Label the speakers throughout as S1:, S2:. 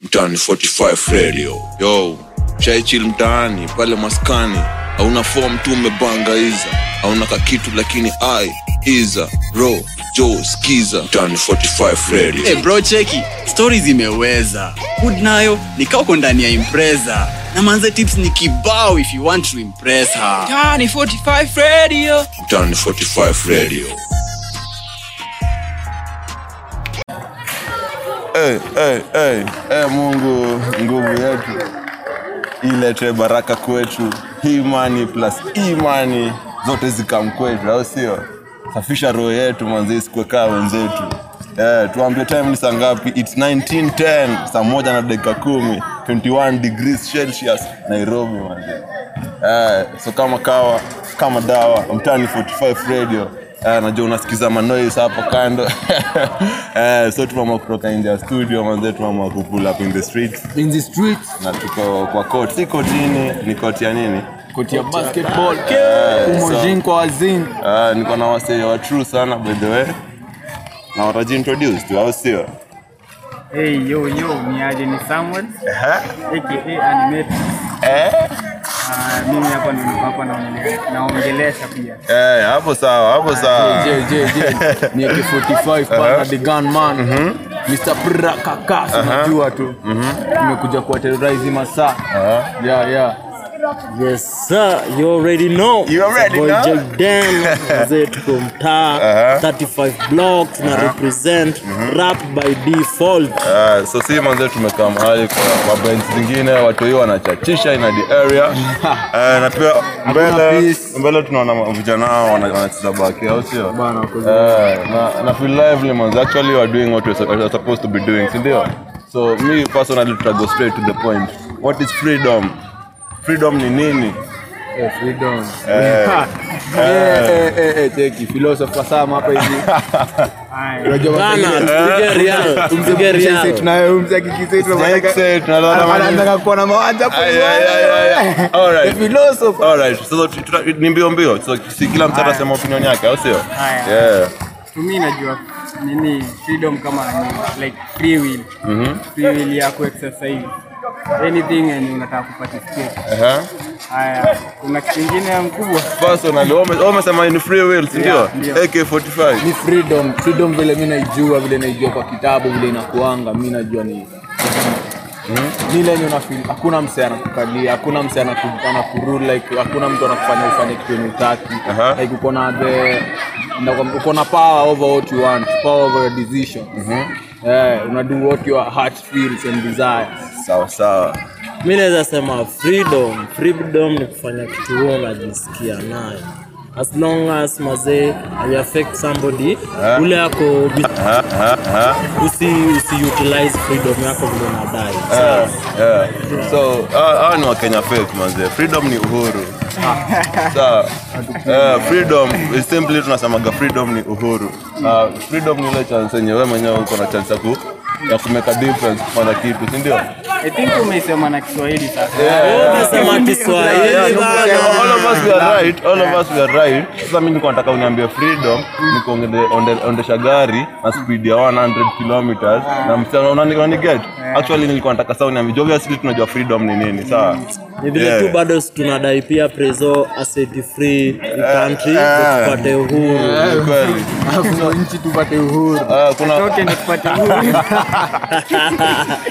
S1: mtaani 45 radio yo shaichil mtaani pale maskani hauna fom tu umebangaiza hauna kakitu lakini ai iza ro jo skiza mtaani 45 radio Eh,
S2: hey bro cheki stori zimeweza hood nayo nikauko ndani ya impreza na manze tips ni kibao if you want to impress her
S3: Tani 45 Radio.
S1: mtaani 45 radio
S4: hey, hey, hey, hey, mungu nguvu yetu ilete baraka kwetu imani plus imani zote zikam kwetu au sio safisha roho yetu manzi isikuekaa wenzetu Eh, tuambie time ni saa ngapi its 1910 saa moja na dakika kumi 21 degrees celsius nairobi manzi eh, so kama kawa kama dawa mtani 45 radio eh, najua unasikiza manois hapo kando eh, so tunaamua kutoka nje ya studio manze tunaamua kupull up in the streets
S5: in the streets
S4: na tuko kwa court si kotini ni koti ya nini
S5: koti ya basketball kumojin
S4: so-
S5: kwa wazin
S4: uh, niko na wasee wa true sana by the way na watajiintroduce tu au sio
S6: Hey yo yo, ni aje ni Samuel aka Animatrix.
S4: Eh?
S6: Ah, Mimi hapa ni- hapa naongelea- naongelesha pia.
S4: Eh, hapo sawa
S7: Ah,
S4: hapo sawa Uh-huh.
S5: ni ake 45 bana the gunman
S4: Mm-hmm.
S5: mr prakakasi
S4: Uh-huh.
S5: unajua tu tumekuja kuwa terrorize masaa
S4: Uh-huh.
S5: yeah yeah
S7: Yes, sir. You already know.
S4: You already
S7: Boy
S4: know. Uh-huh.
S7: Jack Dan, mzee tuko mtaa 35 block tuna represent rap by default.
S4: Ah, Mm-hmm. so si manze tumekaa mahali kwa mabench zingine watu hiyo wanachachisha ina the area Eh, na pia mbele
S5: peace.
S4: mbele tunaona ma- vijana hao wana- wanacheza baki au sio
S5: Bana, wako
S4: Eh, na na feel lively manze actually we are doing what we are we are supposed to be doing si ndio so me personally tuta go straight to the point what is freedom freedom ni nini
S5: Eh, freedom. Eh, eh, eh, eh, cheki, philosopher Sam hapa hivi.
S6: Haya.
S5: Unajua
S7: Bana,
S5: wasanii-
S7: tupige real, tupige
S5: Sisi
S7: real.
S5: tunaye huyu mzee akikisema tunataka-
S4: Sasa tunalala
S5: anataka kuwa na mawanja hapo.
S4: Ay, ay, ay, ay, ay. All right.
S5: The philosopher.
S4: Alright, so tuta- ni mbio mbio so, si kila mtu atasema opinion yake au sio
S6: Haya.
S4: yeah.
S6: Mimi najua nini freedom kama ni like free will. Free will ya ku exercise anything and unataka kuparticipate.
S4: uh-huh.
S6: Haya, kuna kitu kingine mkubwa.
S4: personally wewe ume- wewe umesema ni free will si ndio
S6: Yeah, ndio.
S4: AK45
S5: Ni freedom, freedom vile mi naijua, vile naijua kwa kitabu, vile inakuanga, mi najua ni ni ile yenye unafeel hakuna mse anakukalia, hakuna mse anaku- anakurule, like hakuna mtu anakufanya ufanye kitu yenye utaki.
S4: Aha.
S5: Like uko na the na- uko na power over what you want, power over your decisions. Eh, una do what your heart feels and desires.
S4: sawa sawa
S7: Mimi naweza sema freedom, freedom ni kufanya kitu wewe unajisikia nayo. As long as mazee you affect somebody, ule yako usi usi utilize freedom yako vile unadai. Sawa?
S4: yeah. so hawa hawa ni wakenya fake manze freedom ni uhuru sawa Eh, freedom is simply tunasemaga freedom ni uhuru na freedom ni ile chance yenye wewe mwenyewe uko na chance ya ku ya kumeka difference kufanya kitu si ndio
S6: I think umeisema na Kiswahili sasa.
S7: Wewe unasema
S4: Yeah,
S7: Kiswahili
S4: no,
S7: bana.
S4: all of us we are right, all of us we are right. Sasa mimi niko nataka uniambie freedom nikuondesha gari na speed ya 100 kilometers na msichana unani unani get. Actually nilikuwa nataka sasa uniambie obviously tunajua freedom ni nini, sawa?
S7: ni vile
S4: Yeah.
S7: tu bado si tunadai pia preso acid free country
S4: eh.
S7: tupate uhuru
S4: Ni Kweli.
S5: Alafu ndo nchi tupate uhuru.
S4: Ah, kuna
S6: Toke nikupate huru.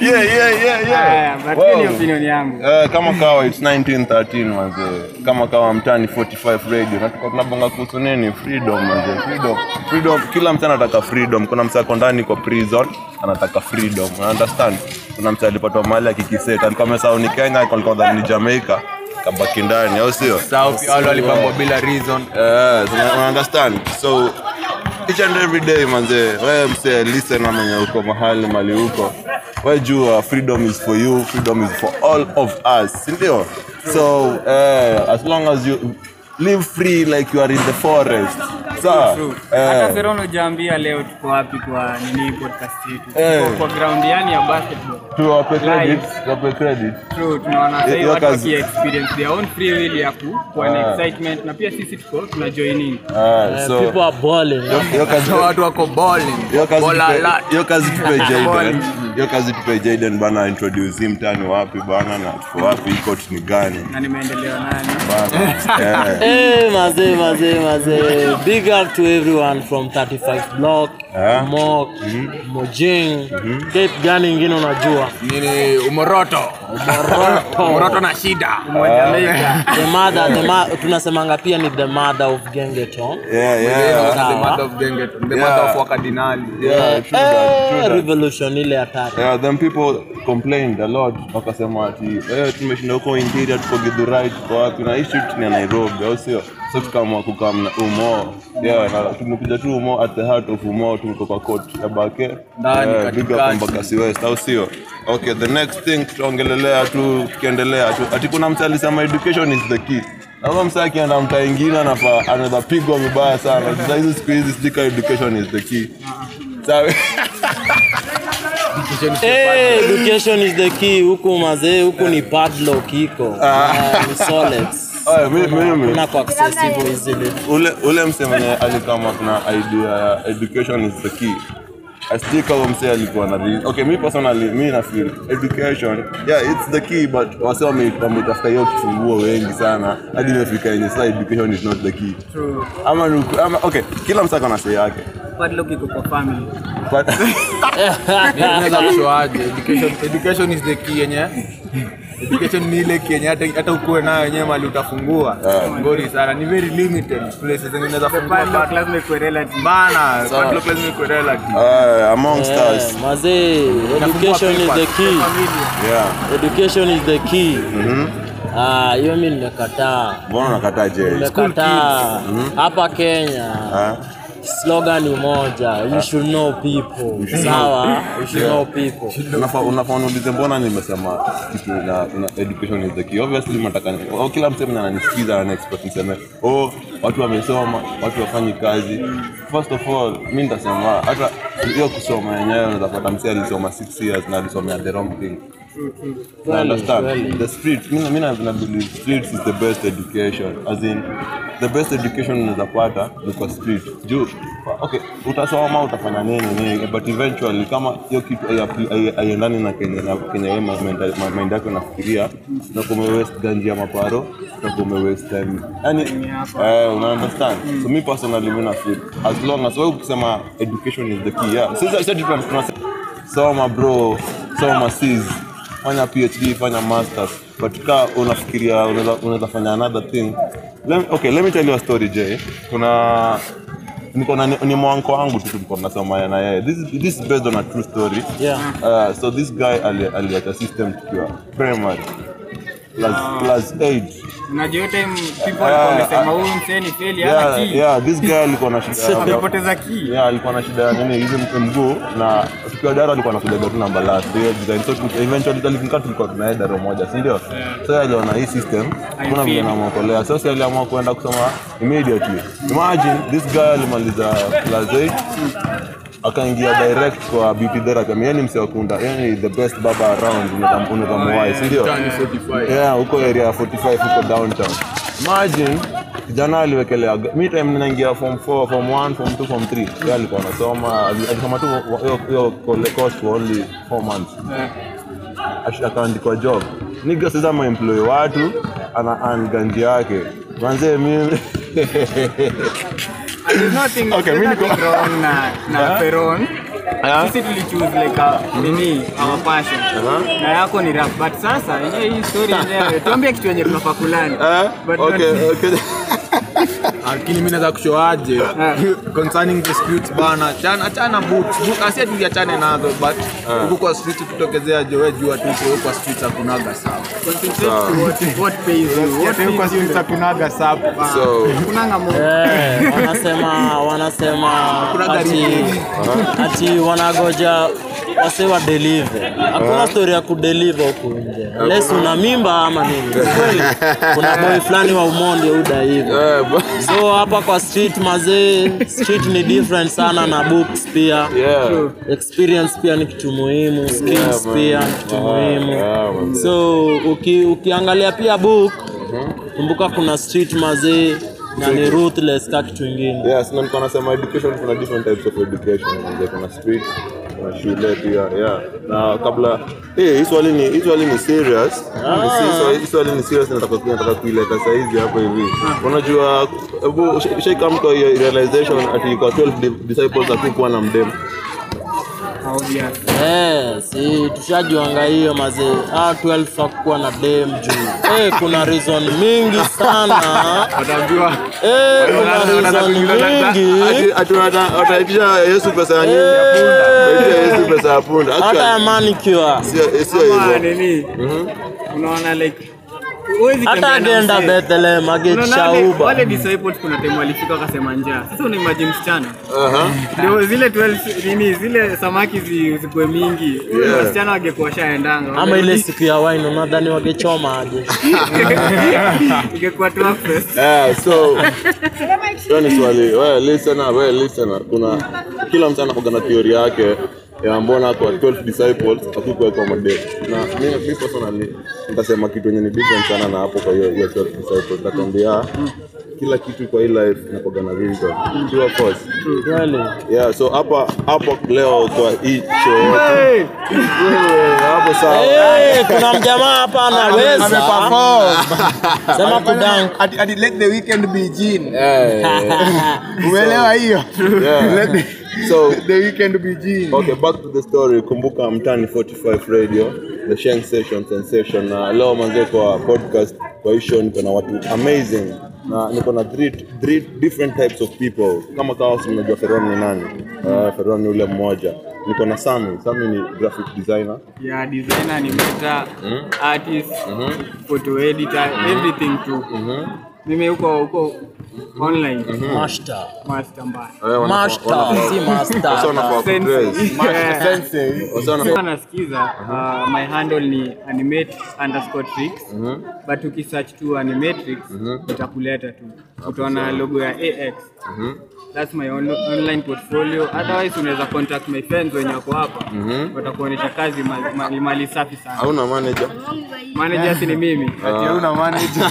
S4: yeah yeah yeah
S6: Haya,
S7: Ah,
S4: yeah.
S6: but hiyo ni
S4: Wow.
S6: opinion yangu.
S4: Eh, kama kawa it's 1913 manze kama kawa mtani 45 radio na tulikuwa tunabonga kuhusu nini freedom manze freedom freedom kila mtu anataka freedom kuna mtu ako ndani kwa prison anataka freedom una understand kuna mtu alipatwa mali akikiseta alikuwa amesahau ni Kenya alikuwa dhani ni Jamaica kabaki ndani au sio
S5: Sawa, pia wale walipambwa bila reason.
S4: Eh, so una- una understand so each and every day manze wewe msee listen ama mwenye uko mahali mali huko wewe jua freedom is for you freedom is for all of us si ndio so eh, as long as you live free like you are in the forest sawa
S6: hata
S4: eh,
S6: serono jaambia leo tuko wapi kwa nini podcast yetu
S4: Eh.
S6: Tuko kwa ground yani ya basketball
S4: tuwape credit
S6: Live.
S4: tuwape credit
S6: True, tunaona sasa hivi
S4: hiyo
S6: watu
S4: kazi-
S6: waki experience their own free will ya ku- kuwa na excitement na pia sisi tuko tuna join in
S4: ah,
S7: Uh,
S4: so
S7: people are balling.
S4: hiyo- hiyo kazi
S5: watu wako balling.
S4: hiyo kazi
S5: Bola
S4: tupe-
S5: la-
S4: hiyo kazi tupe Jaden. Hiyo kazi tupe Jaden bana introduce him tani wapi bana na tuko wapi iko ni gani
S6: na nimeendelea nani
S4: bana. Eh.
S7: Hey, mazee, mazee, mazee. Big up to everyone from 35 block,
S4: Ah. Mm-hmm.
S7: Mok, Mojing, Cape gani ingine unajua?
S5: nini umoroto umoroto na shida
S6: Jamaica
S7: The mother, the ma tunasemanga pia ni the mother of Gengeton.
S4: Yeah, yeah.
S5: the mother of dengue the
S4: Yeah.
S5: mother of wakadinali
S4: Yeah, true that, true
S7: Eh,
S4: that.
S7: revolution ile hatari.
S4: Yeah, then people complained a lot wakasema ati eh, tumeshinda huko interior tuko githurai tuko wapi na hii shoot ni ya nairobi au sio so tukaamua kukam na umo yeah, na tumekuja tu umo at the heart of umo tuko kwa court ya bake
S5: Ndani,
S4: big up
S5: katikati.
S4: Embakasi west au sio okay the next thing tutaongelelea tu tukiendelea tu ati kuna mtu alisema education is the key na huyo msa akienda mtaa ingine anafa- anaweza pigwa vibaya sana sasa hizi siku hizi sijui kama education is the key sawa
S7: Hey, Eh, education is the key. Huku mazee, huku
S4: Eh.
S7: ni padlock iko. Ah, ni Solex.
S4: Aya, mi- Ah, mimi
S7: Kuna kwa accessible easily.
S4: ule ule mse mwenye alikama na idea ya education is the key astika huo mse alikuwa na reason. okay mi personally mi na feel education yeah it's the key but wase wame- wametafuta hiyo kifunguo wengi sana hadi imefika yenye sasa education is not the key
S6: true
S4: ama, ni uku- ama okay kila mse akona sei yake
S6: padlock iko kwa family
S4: but
S5: naweza kushoaje education education is the key yenye education ni ile key yenye hata hata ukuwe nayo yenyewe mali utafungua ngori sana ni very limited places zenye unaweza fungua
S6: padlock
S5: bado
S6: lazima ikuwe relative
S5: bana padlock lazima iko relative
S4: uh, amongst us
S7: Eh, Mazee, education is the key.
S4: yeah
S7: Education is the key. Ah, hiyo mi nimekataa.
S4: mbona unakataa je
S7: Nimekataa. Mm-hmm. Hapa Kenya
S4: Ah,
S7: slogan ni moja, you should know people. Sawa, you should know people.
S4: unafaa unafaa niulize mbona nimesema kitu na, na education is the key obviously nataka ni- oh, kila mtu mwenye ananisikiza ana expect niseme oh watu wamesoma watu wafanyi kazi first of all mi nitasema hata hiyo kusoma yenyewe unazapata msi alisoma 6 years na alisomea the wrong thing I
S7: Kweli,
S4: understand.
S7: kweli.
S4: The street, mi mi na- na believe streets is the best education. As in, the best education unaweza pata ni kwa street. Juu, okay, utasoma utafanya nini nini, but eventually kama hiyo kitu hai- hai- haiendani na Kenya na Kenya wewe ma- menta- ma- mind yako nafikiria na kume waste ganji ya maparo na kume waste time. Yani, eh, una understand? So mi personally mi na feel as long as wewe ukisema education is the key. Yeah. Sasa sasa tunasema soma bro soma sis fanya phd fanya masters but ka unafikiria unaweza unaweza fanya another thing let, okay let me tell you a story j kuna niko na ni, ni mwanko wangu tu tulikuwa tunasoma na yeye this, is- this is based on a true story
S7: Yeah.
S4: uh, so this guy ali- aliacha system tukiwa primary class, class 8
S6: unajua time
S4: Ah,
S6: people walikuwa wamesema
S4: ah.
S6: huyu msee ni feli hana
S4: yeah,
S6: key
S4: yeah, this guy alikuwa na shida ya-
S6: amepoteza key
S4: Yeah, alikuwa na shida ya nini hizi m- mguu na tukiwa dara alikuwa anakujaga tu namba last hiyo design so tu- eventually tulikuwa tulikuwa tunaenda roho moja si ndio so aliona hii system kuna
S6: Haifili.
S4: mtu anamuokolea so si aliamua kuenda kusoma immediately imagine this guy alimaliza class 8 akaingia direct kwa beauty therapy I mean, yeye ni msee wa kunda yeye ni the best baba around unaweza- unaweza muwai si ndio
S5: Ndani 45.
S4: yeah, huko area ya 45 huko downtown imagine kijana aliwekelea ga- mi time ninaingia form 4 form 1 form 2 form 3 yeye alikuwa anasoma ali- alisoma tu wa- hiyo- hiyo kole- course for only 4 months Ash- akaandikwa job niga sasa maemploy watu ana earn ganji yake manzee mimi
S6: there's nothing
S4: Okay,
S6: there's
S4: mi niko-
S6: nothing wrong na na peron sisi tulichoose like a nini our passion
S4: Uh-huh.
S6: na yako ni rap but sasa yenyewe hii story yenyewe tuambie kitu yenye tunafaa kulani
S4: Eh?
S6: But not-
S4: okay, okay.
S5: lakini mi naweza kushoaje concerning the streets bana achana achana boots Boot- asia tuliachane nazo but huku kwa streets ukitokezea jowe jua tu huku kwa streets hakunaga sawa
S6: concentrate to what- what pays you, what feeds you.
S5: hakunaga sawa
S4: so
S6: Hakunanga mo-
S7: Eh, wanasema wanasema
S5: Kuna gari
S7: ati,
S5: nyingi.
S7: ati wanagoja wase wa deliver.
S4: Eh.
S7: Hakuna story ya kudeliver huku nje. Unless una mimba ama nini. Kweli kuna boy fulani wa Umondi uda hivyo.
S4: Eh,
S7: So hapa kwa street mazee, street ni different sana na books pia.
S4: Yeah.
S7: Experience pia ni kitu muhimu, skills
S4: man. Ah,
S7: pia ni kitu
S4: yeah, man.
S7: muhimu. So uki, ukiangalia pia book, kumbuka kuna street mazee na ni ruthless ka kitu ingine.
S4: Yes, na nilikuwa nasema education kuna different types of education. Manze, kuna street, kuna shule pia. Yeah. Na kabla eh, hii swali ni hii swali ni serious. Ah. Si hii swali ni serious nataka ku- nataka kuileta saizi hapo hivi. Unajua hebu shake come to your realization ati kwa 12 di- disciples hakukuwa na mdem.
S6: Obvious.
S7: Yes, hii, tushajuanga Eh, hiyo mazee. Ah, 12 hakukuwa na dem juu. Eh, kuna reason mingi sana. Eh,
S4: Ah,
S7: kuna reason mingi.
S4: Ati ati wata- wataitisha Yesu pesa ya nini? Wataitisha Eh. Yesu pesa ya punda.
S7: Eh, Hata ya
S4: Actually,
S7: manicure.
S4: sio sio
S6: Ama
S4: hivyo.
S6: nini?
S4: Mm-hmm.
S6: Unaona like huwezi
S7: Hata
S6: tembea na
S7: agenda
S6: msee.
S7: Bethlehem
S6: Unaona
S7: ageti
S6: wale-
S7: shauba.
S6: wale disciples kuna time walifika wakasema njaa. Sasa unaimagine msichana. Ndio zile 12 nini zile samaki zi- zikuwe mingi. Ule
S4: Yeah.
S6: Msichana wangekuwa shaendanga.
S7: Ama ile siku ya wine unadhani wangechoma aje?
S6: ingekuwa tu fest.
S4: Eh, so hiyo ni swali we listener, we listener, kuna kila mtu anakuwa na theory yake ya mbona kwa 12 disciples akikuwekwa model na mimi mimi personally nitasema kitu yenye ni different sana na hapo kwa hiyo hiyo 12 disciples nitakwambia kila kitu kwa hii life inakuwa na reason true or false
S7: Kweli.
S4: yeah so hapa hapo leo kwa hicho wewe hapo sawa
S7: Eh, kuna mjamaa hapa anaweza sema kudank.
S5: Ati- ati let the weekend be Jean.
S4: Eh,
S5: Umeelewa hiyo?
S4: Yeah.
S5: Let the-
S4: so
S5: the weekend be Jean.
S4: Okay, back to the story. Kumbuka mtani 45 radio, the Sheng Session sensation. Na leo manze kwa podcast kwa hii show niko na watu amazing na niko na three, three different types of people. Kama kawa si mnajua Ferron ni nani? Uh, Ferron ni ule mmoja. Niko na Sami. Sami ni graphic designer.
S6: yeah designer ni meta
S7: Mm.
S6: artist
S7: Mm-hmm.
S6: photo editor everything tu mimi huko huko online
S7: Mm-hmm. Master.
S6: master mbaya
S7: Master. Si
S4: Sasa
S7: master.
S4: unafaa kudress.
S6: Sense- yeah.
S4: Sasa unafaa
S6: Kama nasikiza uh, my handle ni animate underscore tricks but ukisearch tu animatrix itakuleta tu utaona logo ya ax That's my on online portfolio. Otherwise unaweza contact my friends wenye wako hapa watakuonyesha kazi mali, mali, mali safi sana.
S4: hauna manager.
S6: Manager si ni mimi.
S5: Ati una manager.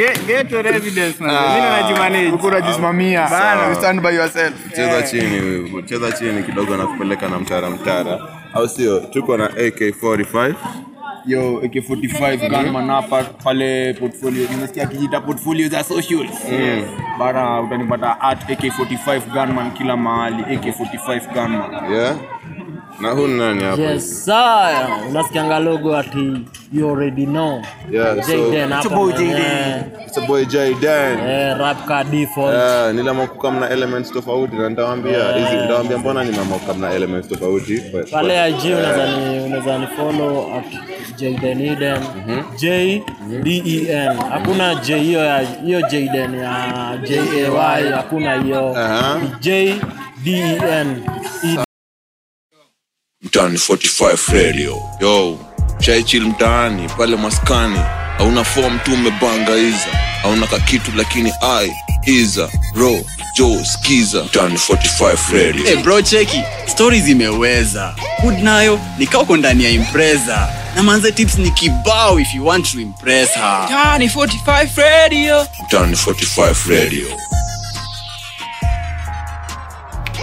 S6: Get- get your evidence man. Mimi na najimanage.
S5: Huku unajisimamia. You stand by yourself.
S4: cheza chini wewe. cheza chini kidogo na kupeleka na mtara mtara au sio tuko na ak45
S5: yo AK45 Gunman hapa pale portfolio nimesikia kijita portfolio za socials bara utanipata at AK45 Gunman kila mahali AK45 Gunman
S4: yeah na huu ni nani hapa
S7: Yes, sir. Unasikianga logo ati you already know.
S4: Yeah, so-
S7: Jayden
S5: It's
S7: hapa
S5: about
S7: mwenyewe.
S5: Jayden.
S4: it's a boy Uh, jaydan
S7: Eh, rap ka default.
S4: Yeah, nila makuka mna elements tofauti na nitawambia hizi nitawambia mbona nimeamka mna elements tofauti But-
S7: pale IG unaweza ni unaweza ni follow at Jaden Eden
S4: Mhm.
S7: J D E N hakuna J hiyo ya hiyo Jaden ya J A Y hakuna hiyo
S4: Aha.
S7: Ni J D E N Eden.
S1: mtaani 45 radio yo shaichil mtaani pale maskani hauna fom tu umebanga iza hauna kakitu lakini ai iza ro jo skiza mtaani 45 radio Eh,
S2: Hey bro cheki stori zimeweza good nayo nikauko ndani ya impreza na manze tips ni kibao if you want to impress her
S3: Tiny 45 Radio.
S1: mtaani 45 radio